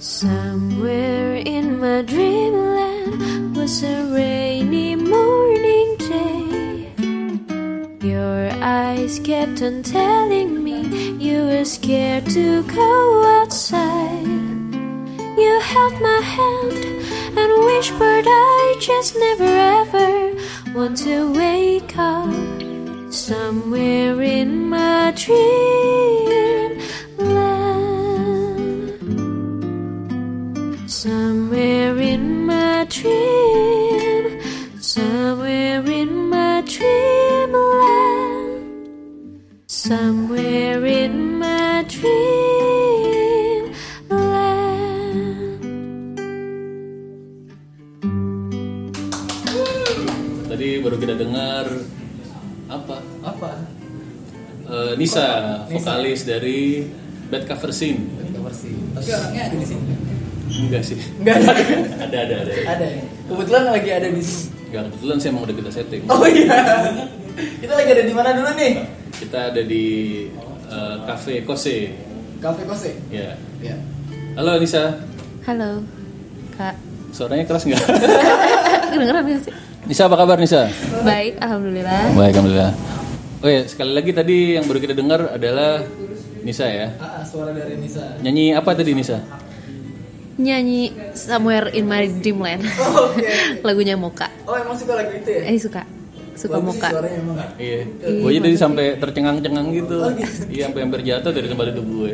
Somewhere in my dreamland was a rainy morning day. Your eyes kept on telling me you were scared to go outside. You held my hand and whispered, I just never ever want to wake up somewhere in my dreamland. Somewhere in my dream, somewhere in my dreamland. Somewhere in my dreamland. Tadi baru kita dengar apa? Apa? Eh, Nisa, vokalis dari Bad Cover Scene. Cover sih. Tapi orangnya ada di sini. Enggak sih. Enggak ada. ada ada ada. Ada ya. Kebetulan lagi ada di sini. Enggak kebetulan saya emang udah kita setting. Oh iya. Kita lagi ada di mana dulu nih? Kita ada di eh, Cafe Kose. Cafe Kose. Ya. Iya. Halo Nisa, Halo, Kak. suaranya keras nggak? Kedengeran nggak sih? Nisa apa kabar Nisa? Baik, alhamdulillah. Baik, alhamdulillah. Oke, sekali lagi tadi yang baru kita dengar adalah Nisa ya. Ah, ah, suara dari Nisa. Nyanyi apa tadi Nisa? Nyanyi Somewhere in my dreamland. Oh, oke. Lagunya Moka. Oh emang suka lagu itu ya? Eh suka. Suka Bagus sih Moka. Suaranya emang. Iya. Gue jadi sampai tercengang-cengang gitu. Iya, sampai hampir jatuh dari tempat itu gue.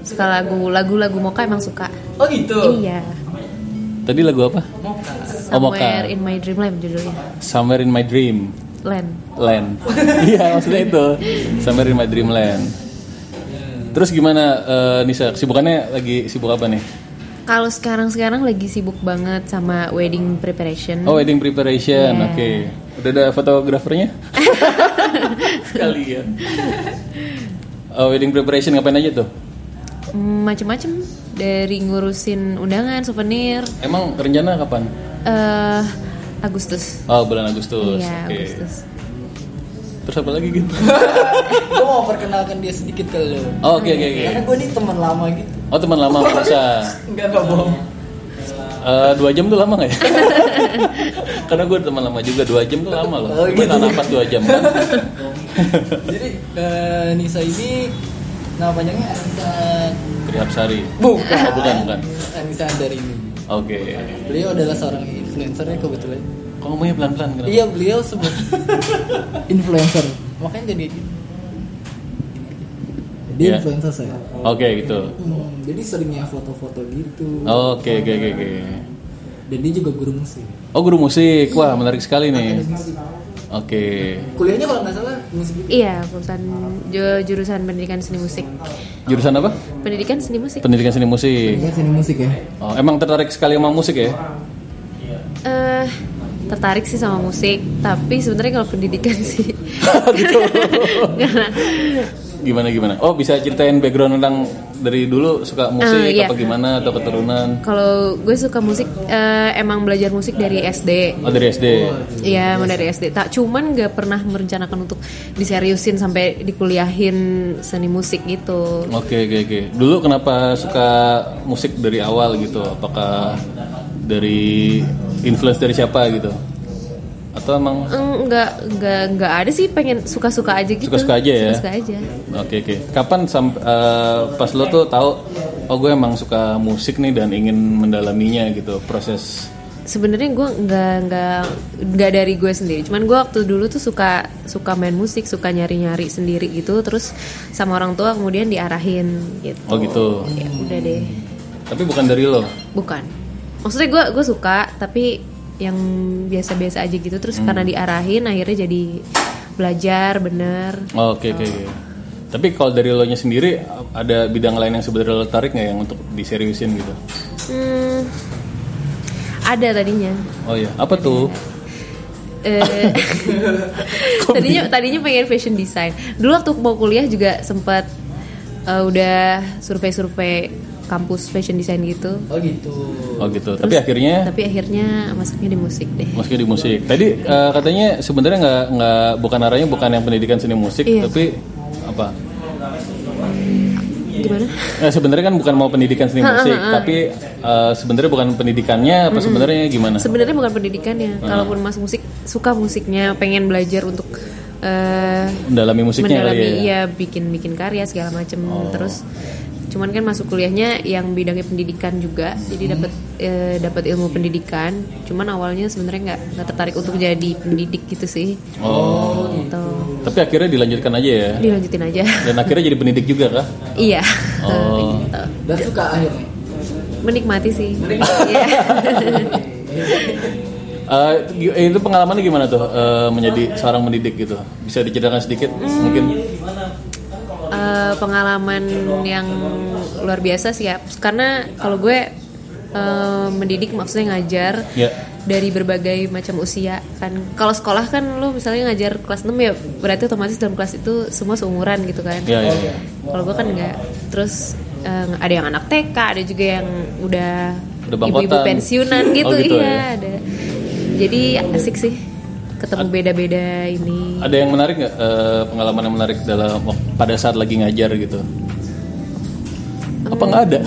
Suka lagu lagu lagu Moka emang suka. Oh gitu. Iya. Tadi lagu apa? Moka. Oh, Moka. Somewhere in my dreamland judulnya. Somewhere in my dream Land. land. Iya, maksudnya itu. Somewhere in my dream land. Terus gimana eh, Nisa? Kesibukannya lagi sibuk apa nih? Kalau sekarang-sekarang lagi sibuk banget sama wedding preparation. Oh, wedding preparation. Iya. Oke. Udah ada fotografernya? Kalian. Oh, wedding preparation ngapain aja tuh? Mm, macem-macem dari ngurusin undangan, souvenir, Emang rencana kapan? eh Agustus. Oh, bulan Agustus. Iya, Oke. Agustus. Terus apa lagi gitu? gue mau perkenalkan dia sedikit ke lo. Oh, Oke, oke, oke. Karena gue nih teman lama gitu. Oh, teman lama merasa Enggak enggak bohong. Eh, dua jam tuh lama nggak ya? Karena gue teman lama juga dua jam tuh lama loh. Oh, Gue gitu. napas dua jam kan. Jadi eh, Nisa ini nama panjangnya Anissa. Sari. Bukan. Oh, bukan, bukan. Anissa Andarini. Oke. Beliau adalah seorang influencer ya kebetulan. Kok ngomongnya pelan-pelan kenapa? Iya beliau sebut influencer. Makanya jadi Iya. dia influencer saya. Oke gitu. Hmm, jadi seringnya foto-foto gitu. Oke, oke, oke, oke. Dan dia juga guru musik. Oh guru musik, wah menarik sekali nih. Ada musik. Oke, Kuliahnya kalau nggak salah musik gitu. Iya, jurusan ju- jurusan pendidikan seni musik. jurusan apa? Pendidikan seni musik. Pendidikan seni musik. Iya seni musik ya. Oh, emang tertarik sekali sama musik ya? eh tertarik sih sama musik, tapi sebenarnya kalau pendidikan sih. Gitu. Karena Gimana gimana? Oh bisa ceritain background tentang dari dulu suka musik Eh, iya. apa gimana atau keturunan? kalau gue suka musik eh, emang belajar musik dari SD. Oh dari SD. Iya, emang dari SD. Tak cuman gak pernah merencanakan untuk diseriusin sampai dikuliahin seni musik gitu. Oke oke oke. Dulu kenapa suka musik dari awal gitu? Apakah dari influence dari siapa gitu? Atau emang Enggak, enggak, enggak ada sih pengen suka-suka aja gitu. Suka-suka aja ya? Suka-suka aja. Oke oke. Kapan sam- eh, pas lo tuh tahu oh gue emang suka musik nih dan ingin mendalaminya gitu proses. Sebenarnya gue enggak, enggak, enggak dari gue sendiri. Cuman gue waktu dulu tuh suka, suka main musik, suka nyari-nyari sendiri gitu. Terus sama orang tua kemudian diarahin gitu. Oh gitu. Ya udah deh, Tapi bukan dari lo. bukan. Maksudnya gue, gue suka, tapi yang biasa-biasa aja gitu. Terus karena diarahin, akhirnya jadi belajar bener. Oh, Oke oke. oke. Tapi kalau dari lo nya sendiri ada bidang lain yang sebenarnya lo tarik nggak yang untuk diseriusin gitu? Hmm, ada tadinya. Oh iya. Apa tuh? Eh, tadinya tadinya pengen fashion design. Dulu waktu mau kuliah juga sempat eh, udah survei-survei kampus fashion design gitu. Oh gitu. Oh gitu. Tapi akhirnya Tapi akhirnya masuknya di musik deh. Maksudnya di musik. Tadi eh, katanya sebenarnya nggak nggak bukan arahnya bukan yang pendidikan seni musik, Iya. tapi apa? gimana? Nah, sebenarnya kan bukan mau pendidikan seni musik, tapi eh, sebenarnya bukan pendidikannya apa sebenarnya gimana? Sebenarnya bukan pendidikannya. Ah. Kalaupun Mas musik suka musiknya, pengen belajar untuk eh Mendalami musiknya kali mendalami ya. Oh. iya bikin-bikin karya segala macem terus cuman kan masuk kuliahnya yang bidangnya pendidikan juga Hmm. jadi dapat eh, dapat ilmu pendidikan cuman awalnya sebenarnya nggak nggak tertarik untuk jadi pendidik gitu sih Oh. gitu Tapi akhirnya dilanjutkan aja ya. dilanjutin aja Dan akhirnya jadi pendidik juga kah? iya Oh. Gitu. Dan suka akhirnya. menikmati sih Iya. Eh, gi- eh, itu pengalamannya gimana tuh eh, menjadi seorang pendidik gitu? Bisa diceritakan sedikit Hmm. mungkin? Eh, pengalaman yang luar biasa sih ya karena kalau gue eh, mendidik maksudnya ngajar Ya. dari berbagai macam usia kan kalau sekolah kan lo misalnya ngajar kelas 6 ya berarti otomatis dalam kelas itu semua seumuran gitu kan Ya, ya, ya. kalau gue kan enggak terus eh, ada yang anak TK ada juga yang udah Udah ibu-ibu bangkotan. pensiunan Oh, gitu, gitu iya ada jadi asik sih ketemu beda-beda ini Ada yang menarik nggak eh, pengalaman yang menarik dalam wak- pada saat lagi ngajar gitu? Apa nggak ada?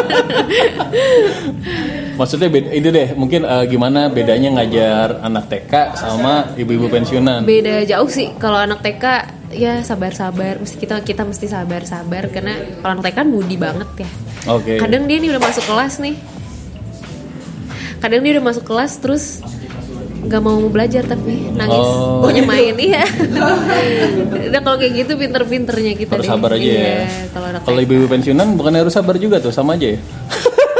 Maksudnya beda, itu deh mungkin eh, gimana bedanya ngajar anak TK sama ibu-ibu pensiunan? beda jauh sih kalau anak TK ya sabar-sabar mesti kita kita mesti sabar-sabar karena kalau anak TK kan budi Iya, banget ya Oke. kadang dia nih udah masuk kelas nih kadang dia udah masuk kelas terus nggak mau belajar tapi nangis Oh. maunya main iya udah kalau kayak gitu pinter-pinternya kita Harus deh. sabar aja Iya, ya. kalau anak Kalau ibu-ibu pensiunan bukannya harus sabar juga tuh sama aja ya?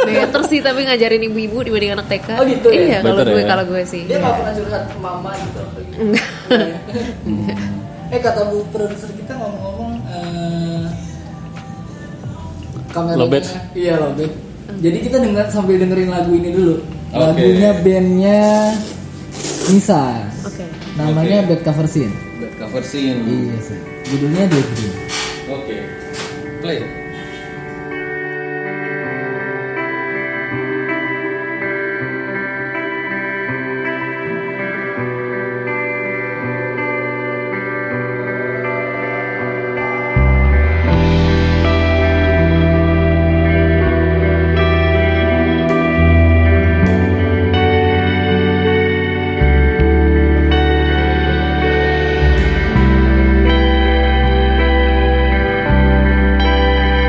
better sih tapi ngajarin ibu-ibu dibanding anak TK Oh, gitu ya? iya kalau Better gue ya? kalau gue sih Dia nggak pernah curhat ke mama gitu. apa gitu. Iya. eh kata bu produser kita ngomong-ngomong eh kamera Lobet. Iya lobet. Jadi kita dengar sambil dengerin lagu ini dulu. Oke. Lagunya bandnya Nisa. oke Namanya Oke. Bad Cover Scene. Buat cover scene. Iya sih. Judulnya The Green. Hmm. Oke. Play. Thank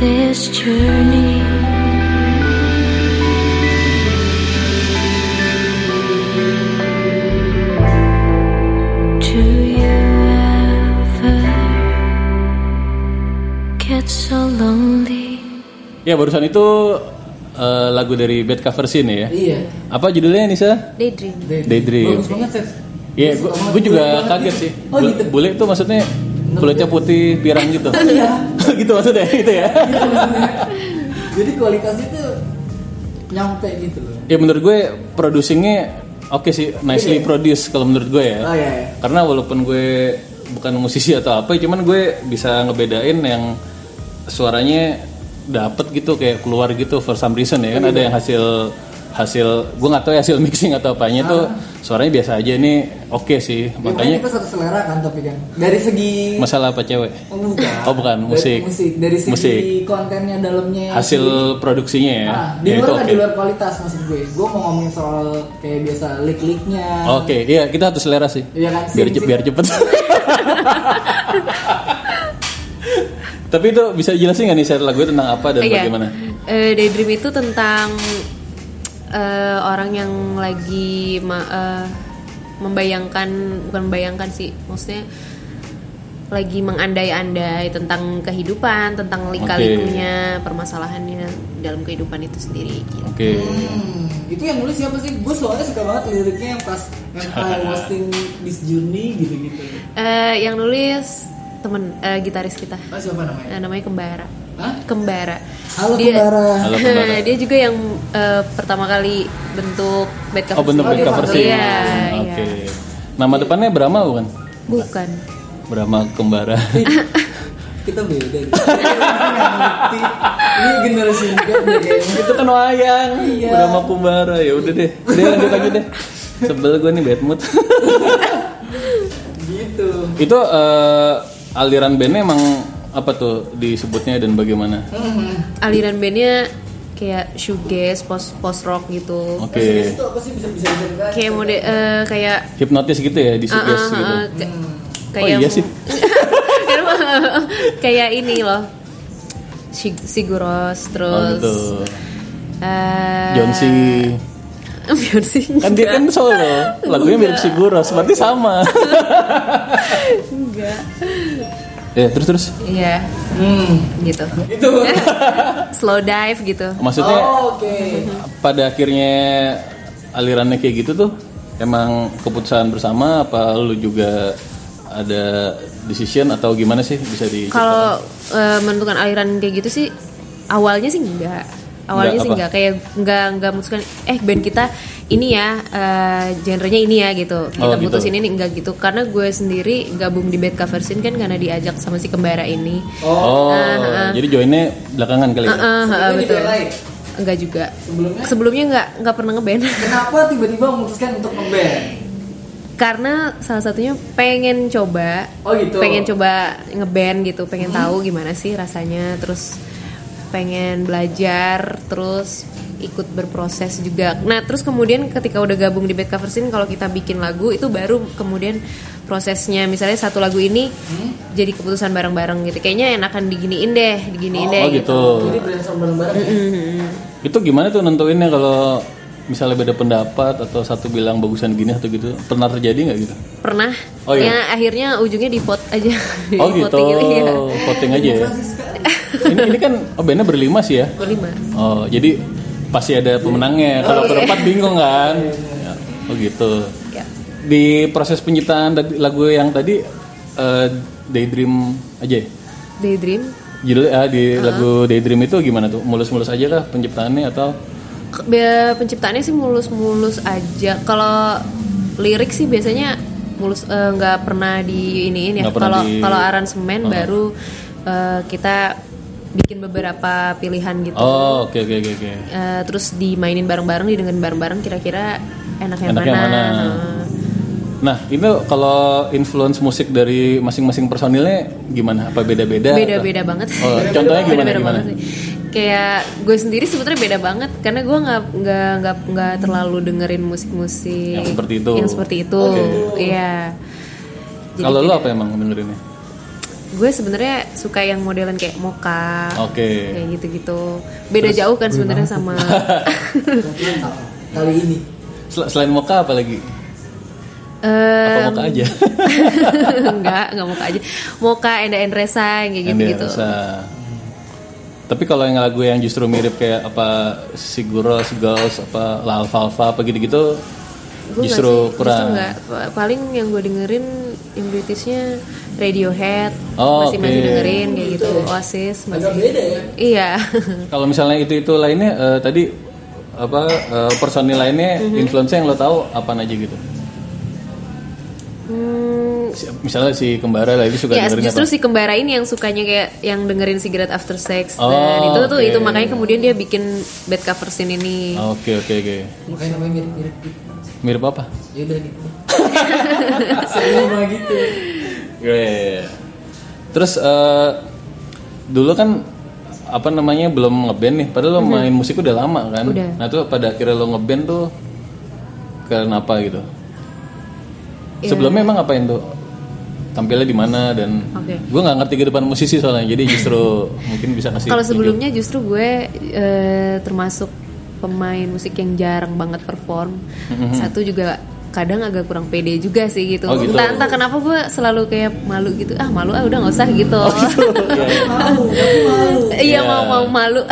this journey. Do you ever get so lonely? Ya barusan itu eh, lagu dari Bad Cover Scene ya. Iya. Apa judulnya Nisa? Daydream. Day- Daydream. Bagus banget set. Iya, Bagus banget. gue juga Bagus banget kaget gitu. sih. Oh Bule- gitu. Bule itu maksudnya kulitnya putih, pirang gitu. Iya. gitu maksudnya gitu ya. Jadi kualitasnya tuh nyampe gitu loh. ya menurut gue producingnya oke sih, nicely Iya. produced kalau menurut gue ya. Oh iya. iya. Karena walaupun gue bukan musisi atau apa, cuman gue bisa ngebedain yang suaranya dapet gitu kayak keluar gitu for some reason Iya. ya kan ada yang hasil hasil gue nggak tahu ya hasil mixing atau apanya tuh suaranya biasa aja ini oke sih Ya, Ah. Makanya makanya kita satu selera kan tapi kan dari segi masalah apa cewek Oh, bukan. Oh, bukan. Dari Musik. musik. Dari segi Musik. kontennya dalamnya. hasil produksinya ya, Ah, ya di itu luar oke kan di luar kualitas maksud gue. Gue mau ngomongin soal kayak biasa lik-liknya. oke iya kita harus selera sih Iya kan? biar Sing- cepet sing- biar cepet tapi itu bisa jelasin nggak nih share lagu tentang apa dan Iya. bagaimana Eh, Daydream itu tentang eh, orang yang lagi ma- eh, membayangkan bukan membayangkan sih, maksudnya lagi mengandai-andai tentang kehidupan, tentang lika-likunya, permasalahannya dalam kehidupan itu sendiri. gitu. oke Hmm, itu yang nulis siapa sih? Gue soalnya suka banget liriknya yang pas yang I was in this journey gitu-gitu. Eh, yang nulis temen eh, gitaris kita, Ah, siapa namanya? Eh, namanya Kembara. Hah? Kembara. Halo Kembara. Halo, Kembara. dia juga yang eh, pertama kali bentuk bed cover. oh bener sih. bener dia cover satu. sih Iya, oke iya. nama depannya Brahma bukan Bukan. Brahma Kembara Iya. Kita beda. Gitu. Ini generasi muda udah kayaknya. itu kan wayang Iya. Brahma Kumbara ya udah deh udah lanjut lanjut deh sebel gue nih bad mood gitu. Itu eh, aliran bandnya emang apa tuh disebutnya dan bagaimana? Hmm. Aliran bandnya kayak shoegaze, post post rock gitu. Oke, Itu apa sih bisa bisa diceritain? Kayak mode eh, kayak hipnotis gitu ah, ya, ah, disuges ah, gitu. ah, ke- Hmm. Oh iya sih. kayak ini loh. Sig- Siguros Oh terus. Iya. gitu. eh, John C. Beyonce. Kan dia kan solo, lagunya mirip Siguros, berarti sama. Enggak. ya terus terus. Iya, Hmm. gitu. Itu. Slow dive gitu. Maksudnya Oh, oke. Ah, pada akhirnya alirannya kayak gitu tuh emang keputusan bersama apa lu juga ada decision atau gimana sih bisa di Kalau eh, menentukan aliran kayak gitu sih awalnya sih enggak. Awalnya Enggak sih apa? enggak kayak enggak enggak memutuskan eh band kita ini ya eh, genrenya ini ya gitu. Kita Oh, gitu. putusin ini enggak gitu karena gue sendiri gabung di band cover scene kan karena diajak sama si kembara ini. Oh, Ah, jadi joinnya belakangan kali Eh, ya. eh, Sebelumnya betul. dibelain? Enggak juga. gitu Sebelumnya? Sebelumnya enggak enggak pernah ngeband. Kenapa tiba-tiba memutuskan untuk ngeband? karena salah satunya pengen coba Oh, gitu. pengen coba ngeband gitu pengen Hmm. tahu gimana sih rasanya terus pengen belajar terus ikut berproses juga nah terus kemudian ketika udah gabung di Bad Cover Scene kalau kita bikin lagu itu baru kemudian prosesnya misalnya satu lagu ini Hmm? jadi keputusan bareng-bareng gitu kayaknya enakan diginiin deh diginiin deh Oh iya. gitu. Jadi brainstorm bareng-bareng. ya? Itu gimana tuh nentuinnya kalau misalnya beda pendapat atau satu bilang bagusan gini atau gitu pernah terjadi nggak gitu? pernah Oh, iya. ya akhirnya ujungnya di vote aja Di Oh gitu, voting itu, iya. voting aja ya. Ini, ini kan oh, bandnya berlima sih ya. berlima Oh jadi pasti ada Oh, pemenangnya. iya. Kalau berempat bingung kan? Ya, Oh gitu. ya Di proses penyitaan tadi- lagu yang tadi eh, Daydream aja. ya? Daydream Judul ah, di lagu Daydream itu gimana tuh? Mulus-mulus aja kah penciptaannya atau? Ke- be- penciptaannya sih mulus-mulus aja. Kalau lirik sih biasanya mulus eh, nggak pernah di iniin ya. Nggak pernah Kalau di- kalau aransemen baru eh, kita bikin beberapa pilihan gitu. Oh oke oke oke oke. Eh, terus dimainin bareng-bareng, didengerin bareng-bareng kira-kira enaknya Enaknya mana. mana? Nah, Nah, ini kalau influence musik dari masing-masing personilnya gimana? Apa beda-beda? beda-beda banget. Ya. Oh, contohnya gimana, Beda-beda gimana? banget sih. Kayak gue sendiri sebetulnya beda banget karena gue nggak nggak nggak nggak terlalu dengerin musik-musik Yang seperti itu. Yang seperti itu, iya. Kalau lu apa emang dengerinnya? gue sebenarnya suka yang modelan kayak moka Oke. kayak gitu-gitu beda jauh kan sebenarnya sama Kebetulan sama. Kali ini Sel- selain moka apa lagi? eh Apa moka aja? enggak enggak moka aja moka enda endresa kayak Yang gitu-gitu dirasa. Tapi kalau yang lagu yang justru mirip kayak apa Siguros, Girls, apa La Alfalfa, apa gitu-gitu Gua nggak justru sih, kurang. nggak. Pa- paling yang gue dengerin yang Britishnya Radiohead Oh, masih masih oke. dengerin kayak gitu Oasis masih agak beda ya. iya Kalau misalnya itu itu lainnya eh, tadi apa eh, personil lainnya influence yang lo tahu apa aja gitu? hmm, Si- misalnya si kembara lagi suka ya dengerin justru apa? si kembara ini yang sukanya kayak yang dengerin Cigarette After Sex Oh, dan itu tuh oke. itu makanya kemudian dia bikin bad cover scene ini Ah, Oke oke oke. Makanya namanya mirip-mirip gitu. Mirip apa? Ya udah gitu. Sama gitu. Iya, Yeah. Terus eh, dulu kan apa namanya belum ngeband nih, padahal lo main musik udah lama kan. Mhm. Udah. Nah tuh pada akhirnya lo ngeband tuh kenapa gitu? Ya. Sebelumnya emang ngapain tuh? Tampilnya di mana dan Oke. gue nggak ngerti kehidupan musisi soalnya, jadi justru mungkin bisa ngasih. kalau tunjuk. sebelumnya justru gue eh, termasuk pemain musik yang jarang banget perform satu juga kadang agak kurang pede juga sih gitu, Mm-hmm. Oh, gitu. entah entah kenapa gue selalu kayak malu gitu ah malu ah udah nggak usah gitu Iya, iya. Malu, aku malu. iya mau mau malu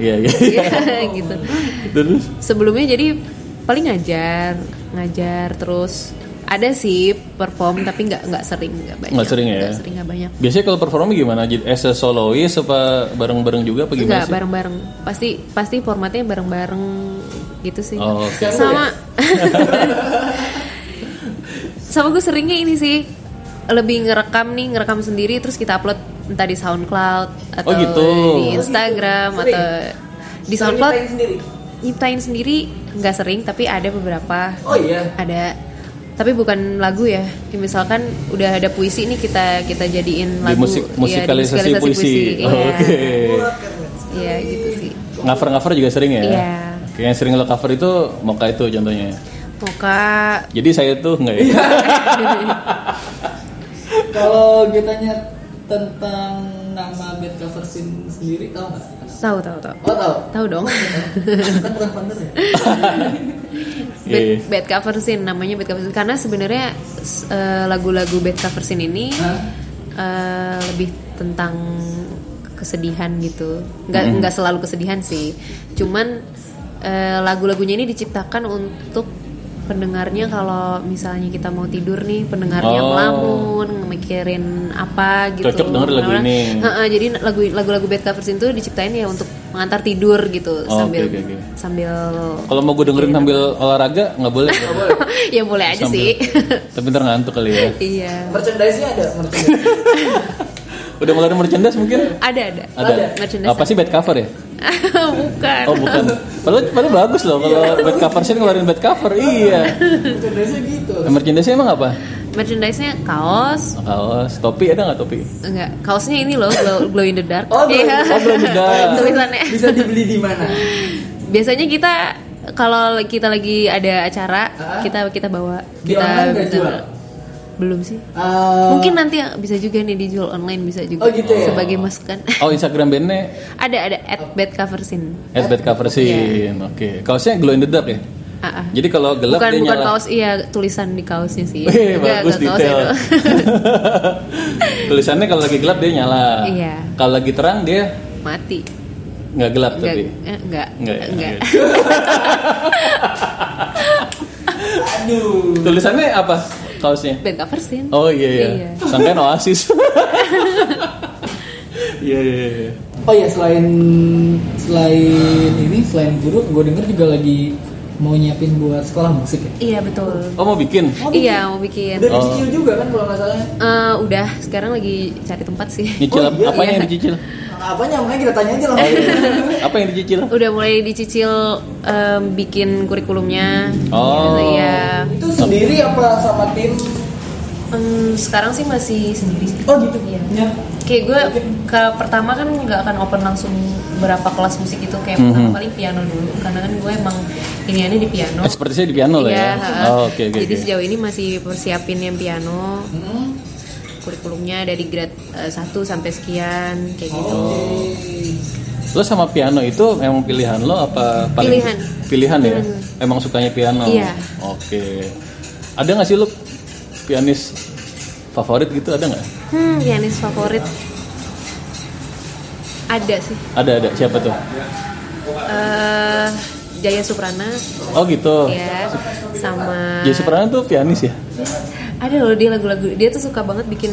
Iya iya. Iya, gitu Terus sebelumnya jadi paling ngajar ngajar terus ada sih perform tapi nggak nggak sering nggak banyak Nggak sering ya? nggak sering nggak banyak biasanya kalau performnya gimana? Jadi as a soloist apa bareng-bareng juga apa gimana Enggak, sih? bareng-bareng. Pasti pasti formatnya bareng-bareng gitu sih. Oh, oke. Sama Sama gue seringnya ini sih lebih ngerekam nih, ngerekam sendiri terus kita upload entah di SoundCloud atau Oh, gitu. di Instagram Sering. atau di Kalau SoundCloud nyetain sendiri. nyiptain sendiri nggak sering tapi ada beberapa Oh iya. ada tapi bukan lagu ya Kayak misalkan udah ada puisi nih kita kita jadiin Di lagu musik Iya, di musikalisasi musikalisasi puisi. Iya. Oh, Oke. Wah, keren. Iya gitu sih. Cover cover juga sering ya. Iya. Kayak yang sering lo cover itu moka itu contohnya. Moka Jadi saya tuh nggak ya. Iya. Kalau gue tanya tentang nama band cover scene sendiri tahu nggak? tahu tahu tahu. Oh tahu. Tahu dong. kan bukan founder ya. Iya, bad, iya. bad cover scene namanya bad cover scene karena sebenarnya s- eh, lagu-lagu bad cover scene ini Hah? eh, lebih tentang kesedihan gitu. Nggak nggak selalu kesedihan sih. Cuman eh, lagu-lagunya ini diciptakan untuk pendengarnya kalau misalnya kita mau tidur nih pendengarnya Oh. melamun mikirin apa gitu Cocok denger lagu Karena- ini. Heeh, jadi lagu lagu-lagu bad cover scene itu diciptain ya untuk mengantar tidur gitu Oh, sambil oke, oke, oke. sambil Kalau mau gue dengerin sambil olahraga nggak boleh. ya boleh aja Sambil- sih Tapi ntar ngantuk kali ya. iya Merchandise-nya ada, merchandise. Udah mulai ada merchandise mungkin? ada ada Ada. merchandise Apa sih bad cover ya? bukan Oh bukan. Padahal, padahal bagus loh kalau Iya. bad cover sih ngeluarin bad cover. Iya. merchandise-nya gitu. Merchandise emang apa? merchandise nya kaos Kaos, topi ada nggak topi? enggak kaosnya ini loh glow, glow in the dark Oh, glow in- Iya. oh, glow in the dark. tulisannya Bisa dibeli di mana? biasanya kita kalau kita lagi ada acara Ah. kita kita bawa Di kita online nggak bisa- jual? belum sih Eh, mungkin nanti bisa juga nih dijual online bisa juga Oh, gitu ya? sebagai masukan Oh Instagram bandnya ada ada at bad cover scene at bad Iya. cover scene. Oke. Kaosnya glow in the dark ya. Ah, ah. Jadi kalau gelap bukan dia bukan nyala. kaos iya tulisan di kaosnya sih Enggak, Wih, Eh, bagus enggak detail. kaos itu. Tulisannya kalau lagi gelap dia nyala. Iya. Kalau lagi terang dia mati nggak gelap enggak tapi. eh, enggak Enggak ya? enggak Oke. aduh. Tulisannya apa kaosnya? band cover scene Oh iya iya. Iya. Sangkain Oasis. Iya iya iya. Oh ya selain selain ini selain guru, gue denger juga lagi mau nyiapin buat sekolah musik ya. iya betul Oh mau bikin? Oh, iya mau bikin Udah dicicil juga kan kalau nggak salah. Eh, udah sekarang lagi cari tempat sih Nyicil Oh, apa? iya, apanya iya. yang dicicil? Oh, iya. Apanya makanya kita tanya aja lah. Apa yang dicicil? udah mulai dicicil em, bikin kurikulumnya Oh. Gitu, iya Itu sendiri apa sama tim? Em, sekarang sih masih sendiri sih Oh gitu. Iya. Ya. Kayak gue ke pertama kan nggak akan open langsung berapa kelas musik itu kayak pertama Mhm. paling piano dulu karena kan gue emang iniannya di piano. Eh, seperti saya di piano lah Iya, ya. ha-ha. Oh, oke oke. Jadi oke. sejauh ini masih persiapin yang piano. Hmm. kurikulumnya dari grade eh, 1 sampai sekian kayak gitu. Oh. Lo sama piano itu emang pilihan lo apa paling Pilihan. pilihan ya? Emang sukanya piano. Iya. Oke. Ada nggak sih lo pianis favorit gitu ada nggak? Hmm, pianis favorit ada sih. Ada ada siapa tuh? eh Jaya Suprana Oh gitu. ya sama Jay Suprana tuh pianis ya? ada loh dia lagu-lagu dia tuh suka banget bikin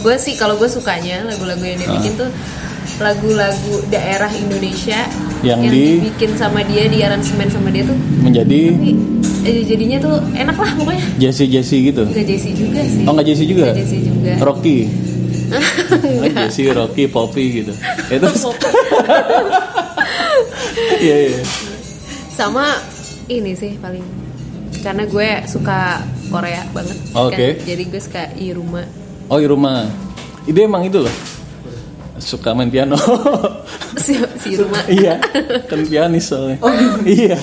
gue sih kalau gue sukanya lagu-lagu yang Ah. dia bikin tuh lagu-lagu daerah Indonesia Yang di- dibikin sama dia di aransemen sama dia tuh Menjadi tapi, eh, jadinya tuh enak lah pokoknya Jesse Jesse gitu. nggak JC juga sih Oh nggak Jesse juga? Nggak Jesse juga Rocky. Oh, Jesse, Rocky, Poppy gitu. Ya, terus Iya iya. sama ini sih paling karena gue suka Korea banget Oh, Oke. kan. jadi gue suka Iruma Oh Iruma. Ide emang itu loh. Suka main piano. si, si Iruma iya. Kan pianis soalnya. iya.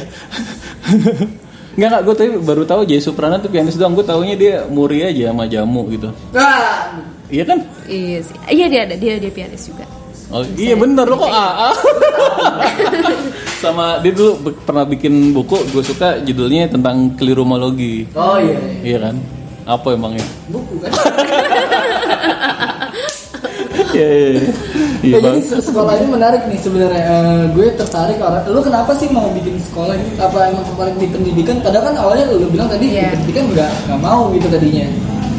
Enggak enggak gue tapi baru tahu Jay Suprana tuh pianis doang. Gue taunya dia muri aja sama jamu gitu. Ah, Iya kan? iya sih iya dia ada dia dia pianis juga Oh, iya bener lo kok AA Sama dia dulu be- pernah bikin buku Gue suka judulnya tentang kelirumologi oh iya, iya. Iya kan? Apa emangnya? buku kan. Iya iya iya. Iya Ya, bang jadi se- sekolah ini menarik nih sebenarnya. Eh, gue tertarik orang. Lu kenapa sih mau bikin sekolah ini? Apa emang tertarik di pendidikan? Padahal kan awalnya lu bilang tadi Iya. di pendidikan nggak nggak mau gitu tadinya.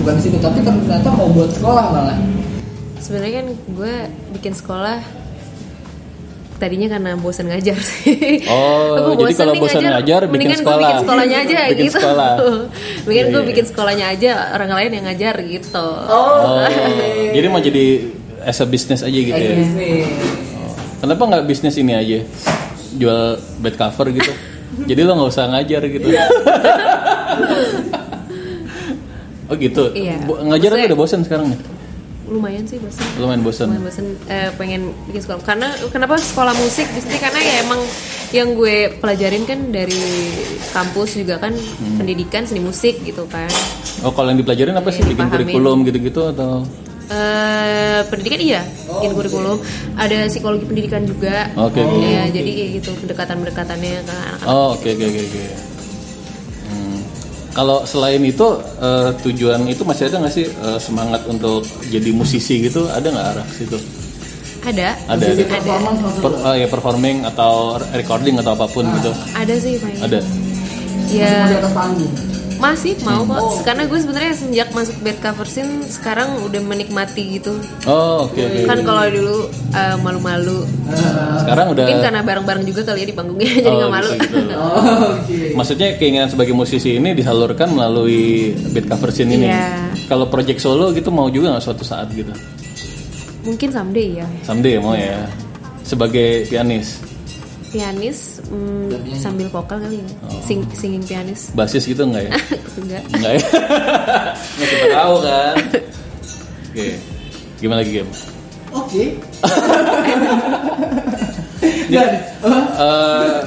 Bukan di situ, tapi ternyata mau buat sekolah malah. sebenarnya kan gue bikin sekolah tadinya karena bosan ngajar sih. Oh, Aku jadi kalau nih bosan ngajar, bikin mendingan gue sekolah. bikin sekolahnya aja Bikin gitu. sekolah. mendingan Iya, gue iya. bikin sekolahnya aja, orang lain yang ngajar gitu. Oh, jadi mau jadi as a business aja gitu ya? Oh, iya. Bisnis. Kenapa nggak bisnis ini aja? Jual bed cover gitu. Jadi lo nggak usah ngajar gitu. Iya. oh gitu. Iya. Bo- ngajar Maksudnya- tapi udah bosen sekarang nih. Lumayan sih bosan. Lumayan bosen. Lumayan bosan eh, pengen bikin sekolah. Karena kenapa sekolah musik? Justru karena ya emang yang gue pelajarin kan dari kampus juga kan Hmm. pendidikan seni musik gitu kan. Oh kalau yang dipelajarin apa sih? Iya, Bikin dipahamin. kurikulum gitu-gitu atau? eh pendidikan iya, bikin kurikulum. Ada psikologi pendidikan juga. Oke, oke. Iya, jadi kayak gitu pendekatan-pendekatannya ke anak-anak. Oh oke oke oke. oke. Hmm. Kalau selain itu eh, tujuan itu masih ada nggak sih eh, semangat untuk jadi musisi gitu? Ada nggak arah ke situ? Ada. Ada ada. Performance maksud Per- eh, ya, performing atau recording atau apapun gitu? Ada sih, Pak. Ada. Ya, di atas panggung. masih mau kok. Karena gue sebenarnya semenjak masuk bed cover scene sekarang udah menikmati gitu. Oh oke oke. Kan kalau dulu eh, malu-malu, Sekarang udah mungkin karena bareng-bareng juga kali ya di panggungnya jadi Iya. Oh, nggak malu. gitu, gitu. Oh, Oke. Maksudnya keinginan sebagai musisi ini disalurkan melalui beat cover scene ini. Iya. Kalau project solo gitu mau juga nggak suatu saat gitu? mungkin someday ya. Someday mau ya. Sebagai pianis, Pianis hmm, sambil vokal kali ya. Oh. Sing- singing pianis. basis gitu nggak ya? Enggak. Enggak ya? Ya, Nggak kita tahu kan? Oke. Gimana lagi game? Oke. Iya. Dan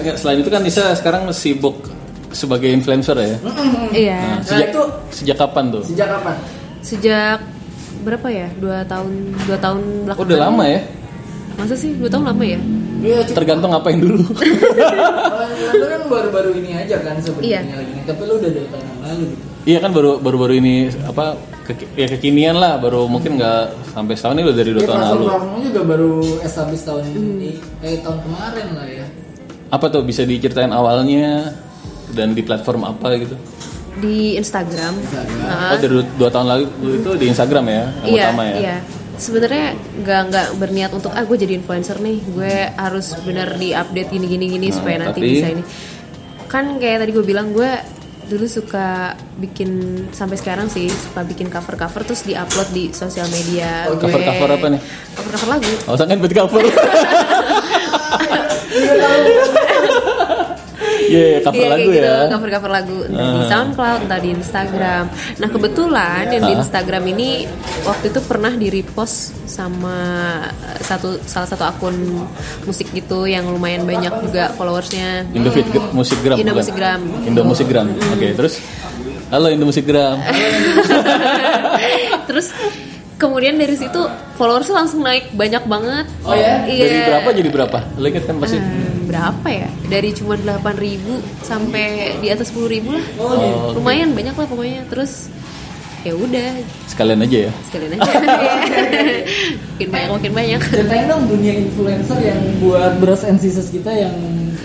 eh, selain itu kan Nisa sekarang sibuk sebagai influencer ya? Iya. Nah, Hmm. Nah, sejak, itu- sejak kapan tuh? sejak kapan? sejak berapa ya dua tahun dua tahun Oh, belakangan udah lama ya? masa sih dua tahun lama ya Iya, cukup. Tergantung ngapain dulu. Kalau yang lu kan baru-baru ini aja kan sebenarnya Iya. lagi ini. Tapi lu udah dari tahun yang lalu gitu. Iya kan baru baru baru ini apa ke, ya kekinian lah baru mungkin nggak sampai setahun ini udah dari Iya, dua Ya, tahun Transfer lalu. Warung juga baru establish tahun ini, eh tahun kemarin lah ya. Apa tuh bisa diceritain awalnya dan di platform apa gitu? di Instagram Nah, Oh dari du- dua tahun lalu itu di Instagram ya yang iya utama ya. iya sebenarnya nggak nggak berniat untuk ah gue jadi influencer nih gue harus bener di update gini gini gini Nah, supaya nanti tapi- bisa ini kan kayak tadi gue bilang gue dulu suka bikin sampai sekarang sih suka bikin cover cover terus diupload di sosial media gue. Cover-cover apa nih? cover cover lagu Oh sangat bet cover. Iya, yeah, cover Iya, lagu kayak gitu, ya. Ah. cover-cover lagu entah di SoundCloud, entah di Instagram. Nah, kebetulan yang Ah. di Instagram ini waktu itu pernah di-repost sama eh, satu salah satu akun musik gitu yang lumayan banyak juga followersnya. Indo Fit Musikgram. Indo bukan? Musikgram. Iya. Indo Musikgram. Oke, terus Halo Indo Musikgram. terus kemudian dari situ followers langsung naik banyak banget Oh ya? Iya. Dari berapa jadi berapa? Lo inget kan pasti? Hmm, berapa ya dari cuma 8.000 sampai di atas 10.000 lah Oh, gitu. Oh, lumayan banyak lah pokoknya terus ya udah Sekalian aja ya. sekalian aja makin banyak makin banyak Ceritain dong dunia influencer yang buat bros and sisters kita yang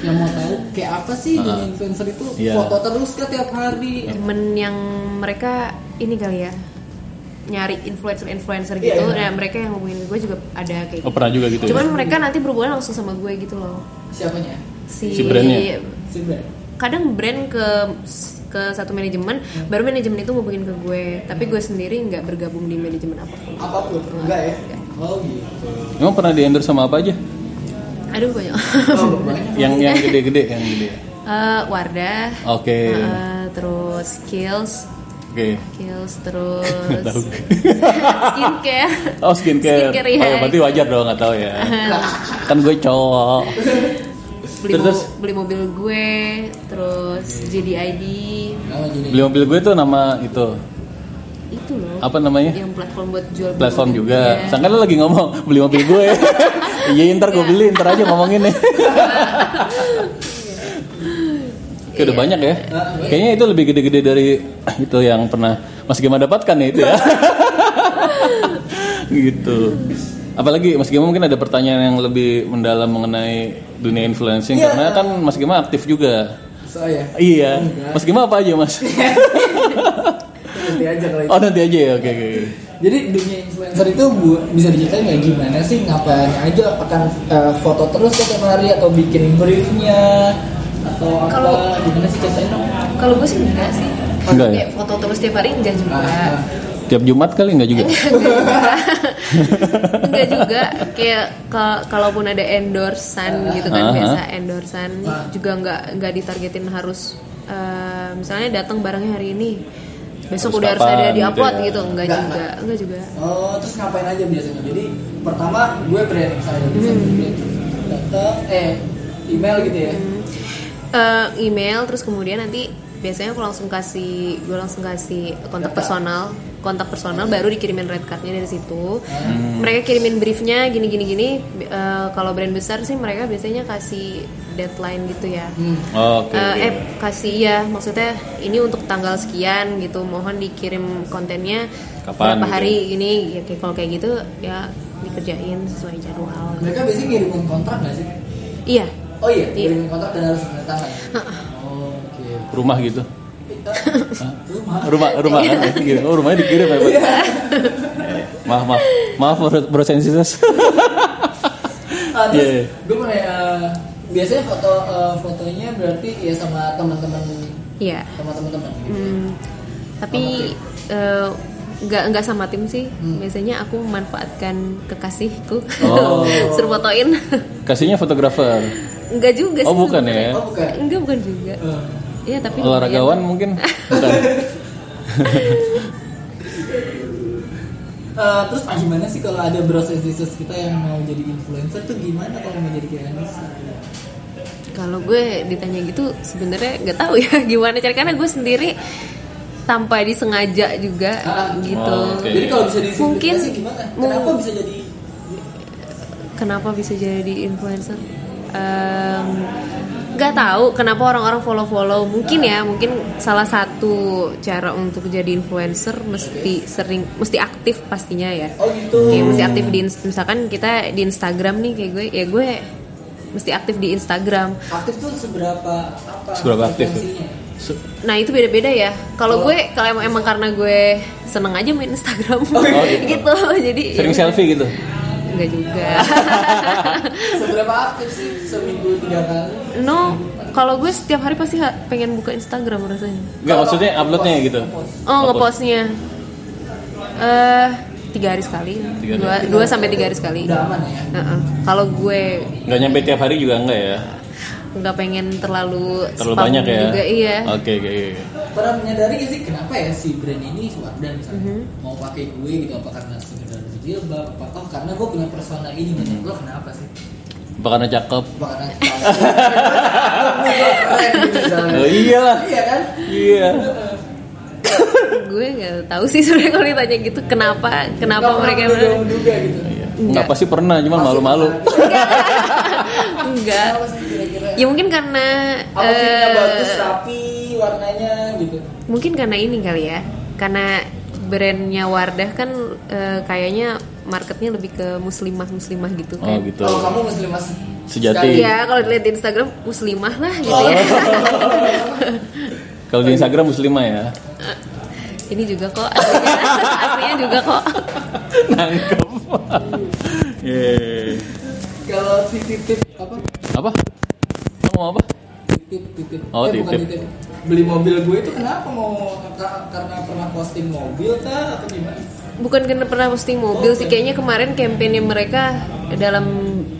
yang mau tahu kayak apa sih dunia influencer itu Ah. Iya. foto terus ke tiap hari temen yang mereka ini kali ya nyari influencer influencer Iya, gitu iya. nah mereka yang ngomongin gue juga ada kayak Oh gitu. pernah juga gitu cuman ya? mereka nanti berhubungan langsung sama gue gitu loh siapanya si, Si brandnya? si brand kadang brand ke ke satu manajemen baru manajemen itu ngubungin ke gue tapi gue sendiri nggak bergabung di manajemen apapun apapun enggak ya oh gitu Emang pernah di endorse sama apa aja? aduh banyak oh, banyak. Yang yang gede-gede, yang gede. Eh, Wardah Oke. eh, terus skills Oke. skills Tahu. terus skincare Oh skincare. Skincare, Oh, iya. ya, berarti wajar dong nggak tahu ya. kan gue cowok. beli, mo- Terus? beli mobil gue terus JDID Oh, jadi Beli mobil gue tuh nama itu itu loh apa namanya? yang platform buat jual beli Platform mobil. juga. Iya. Sangka lo lagi ngomong beli mobil gue. Iya ntar gue beli ntar aja ngomongin nih. Oke, udah banyak ya. Kayaknya itu lebih gede-gede dari ah, itu yang pernah Mas Gema dapatkan ya itu ya. gitu. Apalagi Mas Gema mungkin ada pertanyaan yang lebih mendalam mengenai dunia influencing Iya. karena kan Mas Gema aktif juga. saya Iya. Mas Gema apa aja Mas? nanti aja kalau itu Oh nanti aja ya. Oke oke. jadi dunia influencer itu bu- bisa diceritain nggak gimana sih ngapain aja akan eh, foto terus ke tiap hari atau bikin briefnya atau apa Kalau- gimana sih ceritain dong kalau gue sih enggak sih Enggak ya? Kayak foto terus tiap hari enggak juga Ah. Tiap Jumat kali nggak juga? Iya. enggak juga kayak ka- kalaupun ada endorsan gitu kan Iya. Aha. biasa endorsan juga enggak enggak ditargetin harus eh, misalnya datang barangnya hari ini besok Harus udah harus ada kapan di upload gitu ya. gitu, enggak Enggak, juga enggak juga Oh, terus ngapain aja biasanya? Jadi pertama gue brand misalnya bisa brand datang eh email gitu ya. Eh, email terus kemudian nanti biasanya aku langsung kasih gue langsung kasih kontak personal kontak personal baru dikirimin red cardnya dari situ Hmm. mereka kirimin briefnya gini gini gini Eh, kalau brand besar sih mereka biasanya kasih deadline gitu ya Hmm, Hmm. Oke. Eh, oke. eh kasih ya maksudnya ini untuk tanggal sekian gitu mohon dikirim kontennya Kapan berapa gitu? hari ini ya kayak kalau kayak gitu ya dikerjain sesuai jadwal Mereka biasanya ngirimin kontrak nggak sih? iya Oh iya, Iya. ngirimin kontrak dan harus tanda tangan. Oh, Oke. Rumah gitu. Hah? Rumah. rumah rumah Iya. kan dikirim. oh rumahnya dikirim ya Pak? maaf maaf maaf bro- bro sensitas Ah, terus Iya, iya. gue mau nanya, eh, biasanya foto eh, fotonya berarti ya sama teman-teman iya sama teman-teman gitu. Hmm, tapi eh, nggak nggak sama tim sih Hmm. biasanya aku memanfaatkan kekasihku Oh. suruh fotoin kasihnya fotografer nggak juga sih oh bukan ya Oh bukan. enggak bukan juga Eh, iya tapi olahragawan mungkin bukan eh, terus ah, gimana sih kalau ada bros and sisters kita yang mau jadi influencer tuh gimana kalau mau jadi kayak Anissa? lumayan. ya, kalau gue ditanya gitu sebenarnya nggak tahu ya gimana cara karena gue sendiri tanpa disengaja juga Ah. gitu Oh, oke. Jadi kalau bisa Mungkin- disimplifikasi gimana? Kenapa mung- bisa jadi kenapa bisa jadi influencer Em, nggak tahu kenapa orang-orang follow-follow mungkin ya mungkin salah satu cara untuk jadi influencer mesti sering mesti aktif pastinya ya Oh gitu. Kayak mesti aktif di ins- misalkan kita di Instagram nih kayak gue ya gue mesti aktif di Instagram Aktif tuh seberapa apa? Seberapa aktif ya? tuh? frekuensinya? Se- nah itu beda-beda ya kalau gue kalau emang, emang karena gue seneng aja main Instagram gitu. gitu jadi sering selfie gitu enggak juga Seberapa aktif sih seminggu tiga kali? no kalau gue setiap hari pasti ha- pengen buka Instagram rasanya nggak maksudnya uploadnya gitu Oh Upload. ngepostnya eh tiga hari sekali, Tiga hari. dua, dua sampai tiga hari sekali. Udah aman ya? Heeh. Kalau gue nggak nyampe tiap hari juga enggak ya nggak pengen terlalu terlalu spam banyak ya juga iya. oke oke oke. Pernah menyadari gak sih kenapa ya si brand ini Wardah misalnya Mhm. mau pakai gue gitu apa karena sekedar berjilbab apa oh karena gue punya persona ini Mhm. menurut lo kenapa sih? apa karena cakep Apa karena Gua keren gitu misalnya. oh, Eh, iyalah Iya kan? iya gue nggak tahu sih sebenarnya kalau ditanya gitu kenapa kenapa Nggak mereka pernah benar menduga-duga gitu Iya. nggak pasti pernah cuman malu-malu enggak Apa sih kira-kira ya mungkin karena apa eh, sih yang bagus rapi warnanya gitu mungkin karena ini kali ya karena brandnya Wardah kan eh, kayaknya marketnya lebih ke muslimah muslimah gitu oh kan gitu kalau kamu muslimah se- sejati Iya, kalau dilihat di Instagram muslimah lah gitu Oh. ya. kalau di Instagram muslimah ya Ini juga kok aslinya, aslinya juga kok. nangkep Iya. Yeay. kalau si titip apa apa Kamu mau apa titip titip Oh, eh bukan titip. titip beli mobil gue itu kenapa mau ka- karena pernah posting mobil kah atau gimana Bukan karena pernah posting mobil sih kayaknya kemarin kampanye mereka dalam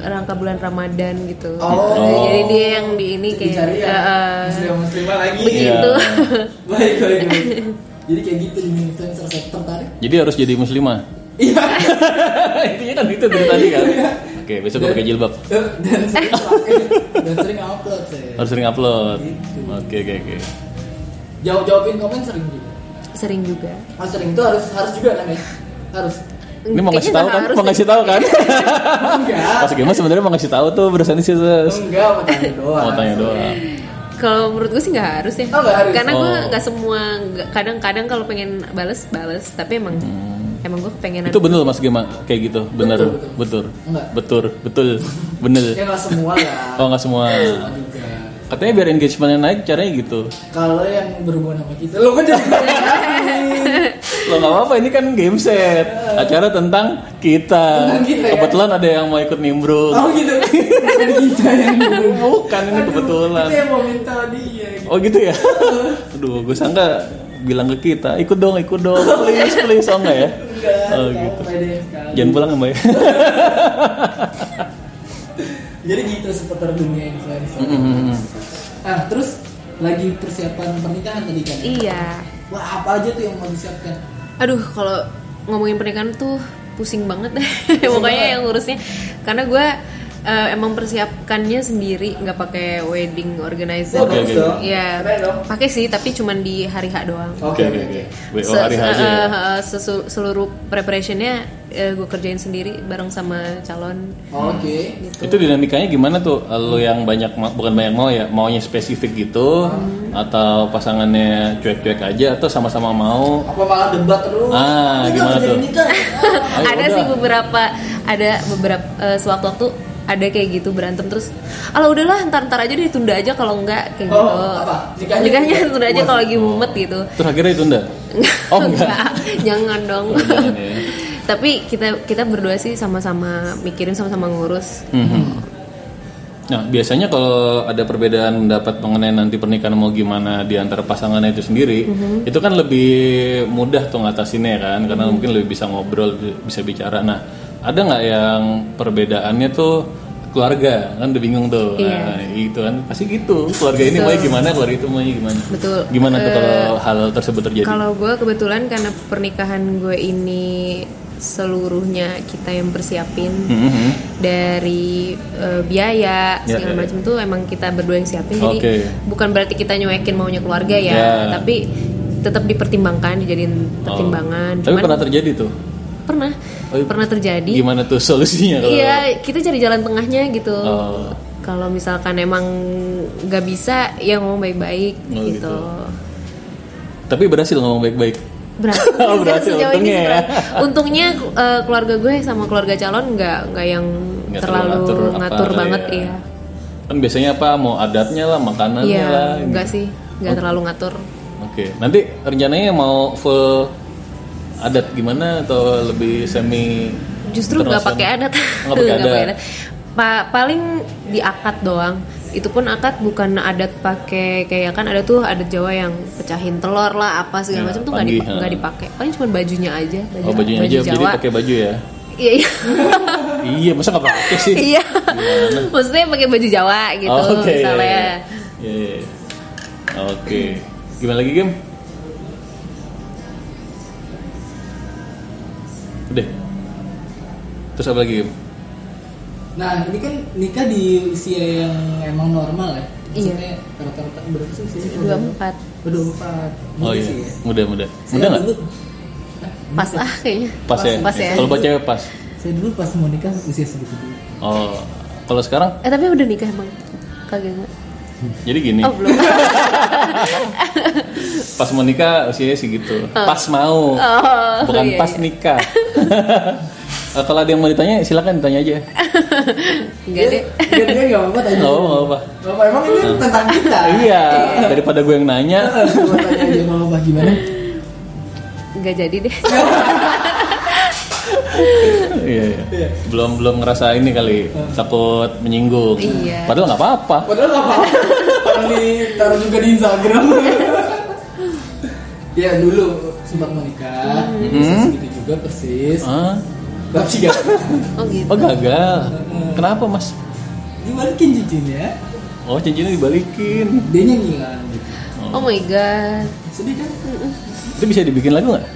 rangka bulan Ramadan gitu. Oh. Jadi dia yang di ini kayak dicari eh, ya eh, muslimah muslimah lagi Iya. begitu. baik baik baik jadi kayak gitu di influencer saya tertarik jadi harus jadi muslimah iya intinya kan itu dari tadi kan oke besok gue pakai jilbab Eh, dan sering pakai dan sering upload saya harus sering upload oke oke oke jawab jawabin komen sering juga Sering juga. ah sering itu harus harus juga kan ya harus ini mau Kayaknya ngasih tahu nggak kan harus mau deh. ngasih tahu kan enggak pas gimana sebenarnya mau ngasih tahu tuh berusaha ini sih terus enggak mau tanya doang mau tanya doang Kalau menurut gue sih nggak harus ya, Oh, nggak harus. karena gue Oh. nggak semua, nggak- kadang-kadang kalau pengen bales bales, tapi emang emang gue kepengenan Hmm. itu bener mas Gema kayak gitu bener betul Enggak. betul betul bener ya nggak semua lah oh nggak semua Sama juga katanya biar engagementnya naik caranya gitu kalau yang berhubungan sama kita lo kan jadi lo nggak apa-apa ini kan game set acara tentang kita Iya. Tentang kita, ya? kebetulan ada yang mau ikut nimbrung oh gitu bukan kita yang berhubungan bukan ini kebetulan kita yang mau minta dia gitu. Oh gitu ya? Aduh, gue sangka bilang ke kita, ikut dong, ikut dong, please, please, oh enggak ya? enggak Oh tahu gitu. pede sekali. Jangan pulang ya mbak ya? jadi gitu seputar dunia influencer Mm-mm. ah terus lagi persiapan pernikahan tadi kan Iya, wah apa aja tuh yang mau disiapkan Aduh, kalau ngomongin pernikahan tuh pusing banget deh. Pokoknya yang ngurusnya karena gue eh, emang persiapkannya sendiri, nggak pakai wedding organizer. Oke, oke. Iya, Oh. Keren dong. pakai sih, tapi cuman di hari H doang. oke oke oke WO Se- hari aja ya? eh, eh, sesu- seluruh preparationnya gue kerjain sendiri bareng sama calon oke gitu. Itu dinamikanya gimana tuh? Lo yang banyak, ma- bukan banyak mau ya, maunya spesifik gitu? Hmm. Atau pasangannya cuek-cuek aja atau sama-sama mau? apa malah debat terus Ah, Ini gimana udah jadi tuh? nikah ya? Ah. Ayo, ada udah. sih beberapa ada beberapa eh, sewaktu-waktu ada kayak gitu berantem terus ala udahlah ntar ntar aja deh tunda aja kalau enggak kayak Oh, gitu apa? Nikahnya ditunda? tunda aja kalau lagi mumet gitu Terus akhirnya ditunda? Oh enggak? jangan dong Oh, jangan ya. tapi kita kita berdua sih sama-sama mikirin sama-sama ngurus Mhm. Nah, biasanya kalau ada perbedaan pendapat mengenai nanti pernikahan mau gimana di antara pasangannya itu sendiri, Mm-hmm. itu kan lebih mudah tuh ngatasinnya kan, karena mungkin lebih bisa ngobrol, bisa bicara. Nah, ada nggak yang perbedaannya tuh keluarga kan udah bingung tuh, Iya. Nah, gitu kan pasti gitu. Keluarga ini mau gimana, keluarga itu mau gimana? Betul. Eh, Gimana tuh kalau hal tersebut terjadi? Kalau gue kebetulan karena pernikahan gue ini seluruhnya kita yang bersiapin Mhm. dari eh, biaya Ya, segala ya, ya. macam tuh emang kita berdua yang siapin. Jadi Oke. bukan berarti kita nyuekin maunya keluarga ya, Ya. tapi tetap dipertimbangkan, dijadiin Oh. pertimbangan. Tapi Cuman pernah terjadi tuh. pernah Oh, pernah terjadi. Gimana tuh solusinya kalau? Iya, kita cari jalan tengahnya gitu. Oh. Kalau misalkan emang nggak bisa, ya ngomong baik-baik Oh, gitu. gitu. Tapi berhasil ngomong baik-baik. berhasil, Oh, berhasil, sejauh ini untungnya sih ya. berhasil. untungnya eh, keluarga gue sama keluarga calon nggak nggak yang Nggak terlalu ngatur, apa, banget ya. ya kan biasanya apa mau adatnya lah makanannya iya lah gitu. nggak sih nggak terlalu ngatur oke nanti rencananya mau full adat gimana atau lebih semi Oh, justru nggak pakai adat Nggak pakai adat. Pa- paling di akad doang itu pun akad bukan adat pakai kayak kan ada tuh adat Jawa yang pecahin telur lah apa segala Ya, macam tuh nggak panggih, dipa- ha. nggak dipakai paling cuma bajunya aja baju, oh bajunya baju aja jadi Jawa pakai baju ya iya iya iya masa nggak pakai sih iya maksudnya pakai baju Jawa gitu Oh, oke misalnya Iya, iya, iya. oke gimana lagi game udah terus apa lagi game ini Nah ini kan nikah di usia yang emang normal ya. Iya. Maksudnya Rata-rata berapa sih? usia? 24 Udah empat. Oh iya, Sih, ya. muda muda. Saya Muda nggak? dulu, pas lah kayaknya Pas ya. pas ya Kalau buat cewek pas. saya dulu pas mau nikah usia segitu dulu. Oh, kalau sekarang eh tapi udah nikah emang kagak nggak jadi gini. oh belum Pas mau nikah usianya segitu. Pas mau. Oh, Bukan iya, pas nikah. Eh, kalau ada yang mau ditanya silakan ditanya aja. nggak deh Dia dia nggak apa-apa tanya. Nggak apa, nggak apa. Bapak emang ini tentang kita. iya, daripada gue yang nanya. Coba tanya aja sama bapak gimana? nggak jadi deh iya, iya. Belum belum ngerasa ini kali takut menyinggung. Iya. Padahal nggak apa-apa. Padahal nggak apa-apa. Padahal ditaruh juga di Instagram. ya dulu sempat menikah, Hmm. usia Hmm. segitu juga persis. Hah? Tapi gak oh gitu Oh gagal. Kenapa mas? dibalikin cincinnya, Oh cincinnya dibalikin. dia yang hilang. Gitu. oh my god Sedih kan? Itu bisa dibikin lagu nggak?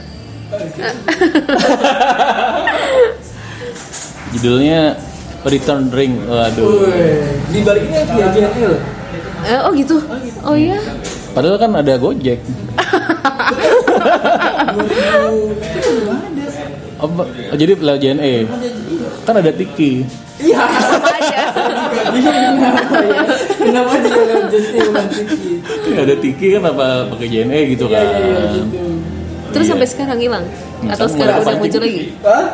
Judulnya Return Ring. Waduh. Wih, dibalikinnya ya via JNE loh. Eh, oh gitu oh iya Padahal kan ada Gojek. 2000 itu belum ada. Apa? Oh, jadi lewat JNE. Kan ada Tiki. Iya. sama aja Iya kenapa ya? Kenapa dia lewat JNE bukan Tiki? ada Tiki kan apa pakai JNE gitu Iya kan. iya iya, gitu. terus Iya. sampai sekarang hilang Nah, atau sekarang sekarang udah mulai pancing. muncul lagi Hah?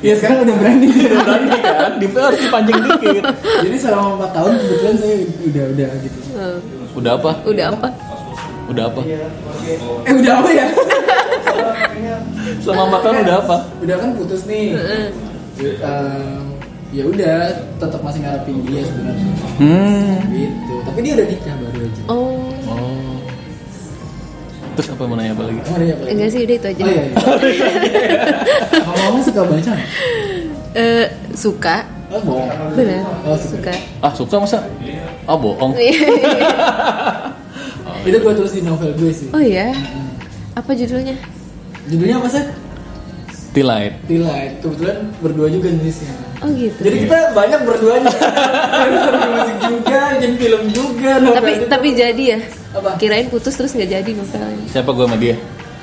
Ya sekarang udah berani Udah berani kan? Di harus dipancing dikit. Jadi selama 4 tahun kebetulan saya udah udah gitu. Eh, Udah apa? udah apa Udah apa? Eh udah apa ya? Selama makan udah apa? udah kan putus nih. Eh, ya udah tetap masih ngarepin dia sebenarnya Hmm. gitu tapi dia udah nikah baru aja oh Oh. Terus apa mau nanya apa lagi? Emang ada yang apa lagi? enggak sih udah itu aja oh iya iya iya. ngomong suka baca nggak? Eh, suka oh bohong benar oh suka suka Oh, iya. Ah suka masa? Iya. Ah bohong. itu gue tulis di novel gue sih oh iya apa judulnya judulnya apa sih Tilaid. Tila kebetulan berdua juga nulisnya oh gitu jadi kita banyak berduanya Nulis musik juga bikin film juga novel tapi juga. tapi jadi ya Apa? kirain putus terus nggak jadi novelnya Siapa gue sama dia?